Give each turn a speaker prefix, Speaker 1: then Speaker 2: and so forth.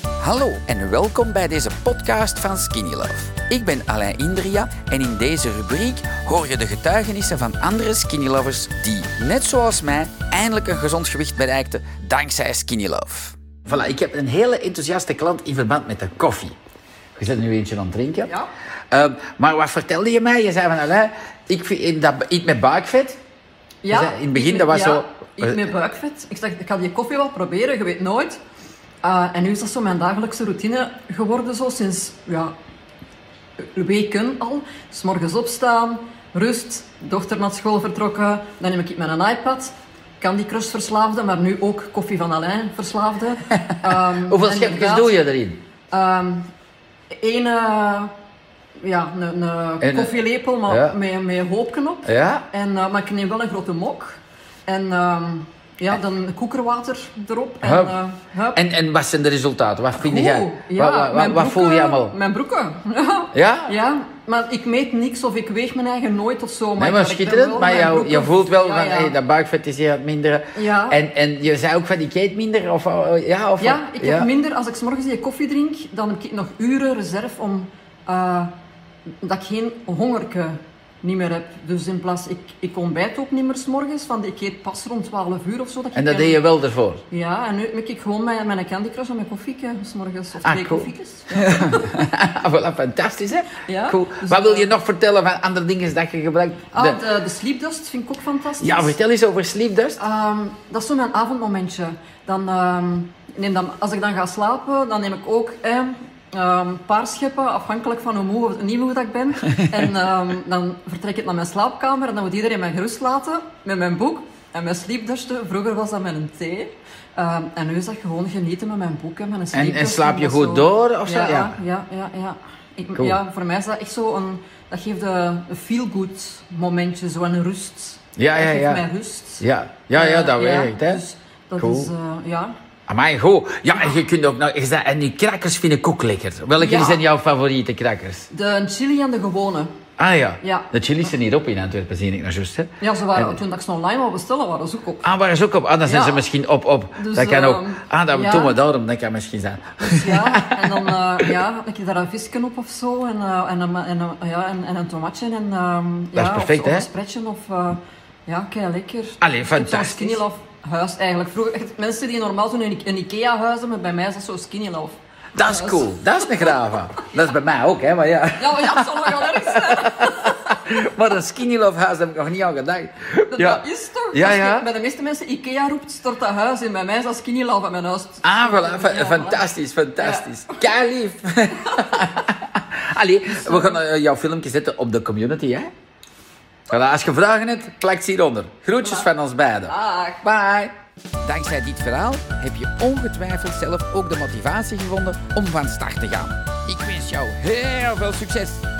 Speaker 1: Hallo en welkom bij deze podcast van Skinny Love. Ik ben Alain Indria en in deze rubriek hoor je de getuigenissen van andere Skinny Lovers die, net zoals mij, eindelijk een gezond gewicht bereikten dankzij Skinny Love. Voilà, ik heb een hele enthousiaste klant in verband met de koffie. Je zit nu eentje aan het drinken.
Speaker 2: Ja.
Speaker 1: Ehm, maar wat vertelde je mij? Je zei van Alain, ik vind in dat, iets met buikvet. Dus, hè, in het begin,
Speaker 2: ik
Speaker 1: dat
Speaker 2: met-
Speaker 1: was
Speaker 2: ja,
Speaker 1: zo- eh,
Speaker 2: Ik met buikvet. Ik dacht, ik ga die koffie wel proberen, je weet nooit. Eh, en nu is dat zo mijn dagelijkse routine geworden, zo sinds ja, weken al. Dus morgens opstaan, rust, dochter naar school vertrokken, dan neem ik mijn iPad. Candy Crush verslaafde, maar nu ook koffie van Alain verslaafde. Ehm,
Speaker 1: Hoeveel
Speaker 2: en
Speaker 1: schepjes
Speaker 2: inderdaad,
Speaker 1: doe je erin?
Speaker 2: Ehm Eén eh, ja, een, een
Speaker 1: En-
Speaker 2: koffielepel, maar
Speaker 1: Ja.
Speaker 2: met, met een hoopje op.
Speaker 1: Ja?
Speaker 2: En, eh, maar ik neem wel een grote mok. En ehm, ja, dan koekerwater erop. En,
Speaker 1: Eh. Hup.
Speaker 2: eh, hup.
Speaker 1: En, en wat zijn de resultaten? Wat vind jij?
Speaker 2: Oeh,
Speaker 1: Wat-
Speaker 2: ja,
Speaker 1: wat, wat,
Speaker 2: mijn
Speaker 1: wat voel je
Speaker 2: broeken-
Speaker 1: allemaal?
Speaker 2: Mijn broeken.
Speaker 1: Ja?
Speaker 2: ja, maar ik meet niks of ik weeg mijn eigen nooit of zo. Maar
Speaker 1: Nee,
Speaker 2: ik-
Speaker 1: maar
Speaker 2: ik ben
Speaker 1: schitterend.
Speaker 2: wel
Speaker 1: Maar
Speaker 2: mijn
Speaker 1: jou,
Speaker 2: broeken-
Speaker 1: je voelt wel
Speaker 2: Ja,
Speaker 1: van,
Speaker 2: ja.
Speaker 1: hey, dat buikvet is hier aan het minderen.
Speaker 2: Ja.
Speaker 1: En, en je zei ook van, ik eet minder? Of, eh, ja, of,
Speaker 2: Ja, ik heb minder. Als ik 's morgens die koffie drink, dan heb ik nog uren reserve om eh, dat ik geen hongerke niet meer heb. Dus in plaats, ik, ik ontbijt ook niet meer 's morgens. Want ik eet pas rond 12 uur of zo.
Speaker 1: En
Speaker 2: ik
Speaker 1: dat
Speaker 2: mijn-
Speaker 1: deed je wel ervoor?
Speaker 2: Ja, en nu heb ik gewoon mijn, mijn Candy Crush en mijn koffieke, s morgens. Of
Speaker 1: Ah,
Speaker 2: twee
Speaker 1: cool.
Speaker 2: koffiekes.
Speaker 1: Ah, voilà, fantastisch hè?
Speaker 2: Ja,
Speaker 1: Cool.
Speaker 2: dus
Speaker 1: Wat wil
Speaker 2: dat-
Speaker 1: je nog vertellen van andere dingen dat je gebruikt?
Speaker 2: Ah,
Speaker 1: De-
Speaker 2: de, de sleepdust vind ik ook fantastisch.
Speaker 1: Ja, vertel eens over sleepdust.
Speaker 2: Ehm, dat is zo mijn avondmomentje. Dan, ehm, neem dan, als ik dan ga slapen, dan neem ik ook eh, ehm, een paar scheppen, afhankelijk van hoe moe of niet moe dat ik ben. en ehm, dan vertrek ik naar mijn slaapkamer en dan moet iedereen mij gerust laten met mijn boek en mijn sleepdusten. Vroeger was dat met een thee. Ehm, en nu is dat gewoon genieten met mijn boek en mijn sleepdust.
Speaker 1: slaap je
Speaker 2: dat
Speaker 1: goed
Speaker 2: zo-
Speaker 1: door of zo?
Speaker 2: Ja,
Speaker 1: Ja.
Speaker 2: ja, ja. ja, Ik-
Speaker 1: Cool.
Speaker 2: ja, voor mij is dat echt zo een... Dat geeft een een feel-good momentje, zo een rust.
Speaker 1: Ja, ja,
Speaker 2: dat geeft
Speaker 1: ja.
Speaker 2: mij rust.
Speaker 1: Ja, ja, ja dat
Speaker 2: Eh,
Speaker 1: werkt hè?
Speaker 2: Dus dat
Speaker 1: Cool.
Speaker 2: is, eh, ja.
Speaker 1: Amai, goed. Ja, en je kunt ook nog... Is dat, en die crackers vind ik ook lekker. Welke
Speaker 2: Ja.
Speaker 1: zijn jouw favoriete crackers?
Speaker 2: De chili en de gewone.
Speaker 1: Ah ja.
Speaker 2: Ja.
Speaker 1: De chili zijn hier op in Antwerpen, zie ik nou juist hè?
Speaker 2: Ja, ze waren, toen dat ik ze online wou bestellen, waren ze ook op.
Speaker 1: Ah, waar is ook op? Ah, dan zijn
Speaker 2: Ja.
Speaker 1: ze misschien op, op.
Speaker 2: Dus,
Speaker 1: dat kan ook.
Speaker 2: ehm,
Speaker 1: Ah, dat
Speaker 2: ja.
Speaker 1: doen we daarom, dat kan misschien zijn.
Speaker 2: Dus ja, en dan eh, ja, had ik daar een visje op of zo. En, eh, en, een, en, een- ja, en, en een tomatje. En, ehm, ja,
Speaker 1: is perfect,
Speaker 2: of, zo,
Speaker 1: hè?
Speaker 2: Of een spreadje of... eh, ja, kei lekker.
Speaker 1: Allee,
Speaker 2: Ik heb zo'n
Speaker 1: fantastisch.
Speaker 2: Skinny Love huis eigenlijk. Vroeger, echt, mensen die normaal zo'n I- een Ikea huis hebben, bij mij is dat zo'n Skinny Love.
Speaker 1: Dat is cool, dat is een grava. Dat is bij mij ook, hè, maar ja.
Speaker 2: Ja, maar ja, dat zal nog wel erg zijn.
Speaker 1: Maar een skinny love house heb ik nog niet aan gedacht.
Speaker 2: Dat, dat is toch?
Speaker 1: Ja,
Speaker 2: Als je
Speaker 1: ja.
Speaker 2: bij de meeste mensen Ikea roept, stort dat huis in. Bij mij is dat Skinny Love uit mijn huis.
Speaker 1: Ah, voilà, fa-
Speaker 2: Ja, voilà.
Speaker 1: fantastisch, fantastisch. Kei lief. Allee, we gaan eh, jouw filmpje zetten op de community, hè? Voilà, als je vragen hebt, plak ze hieronder. Groetjes van ons beiden.
Speaker 2: Dag.
Speaker 1: Bye. Dankzij dit verhaal heb je ongetwijfeld zelf ook de motivatie gevonden om van start te gaan. Ik wens jou heel veel succes.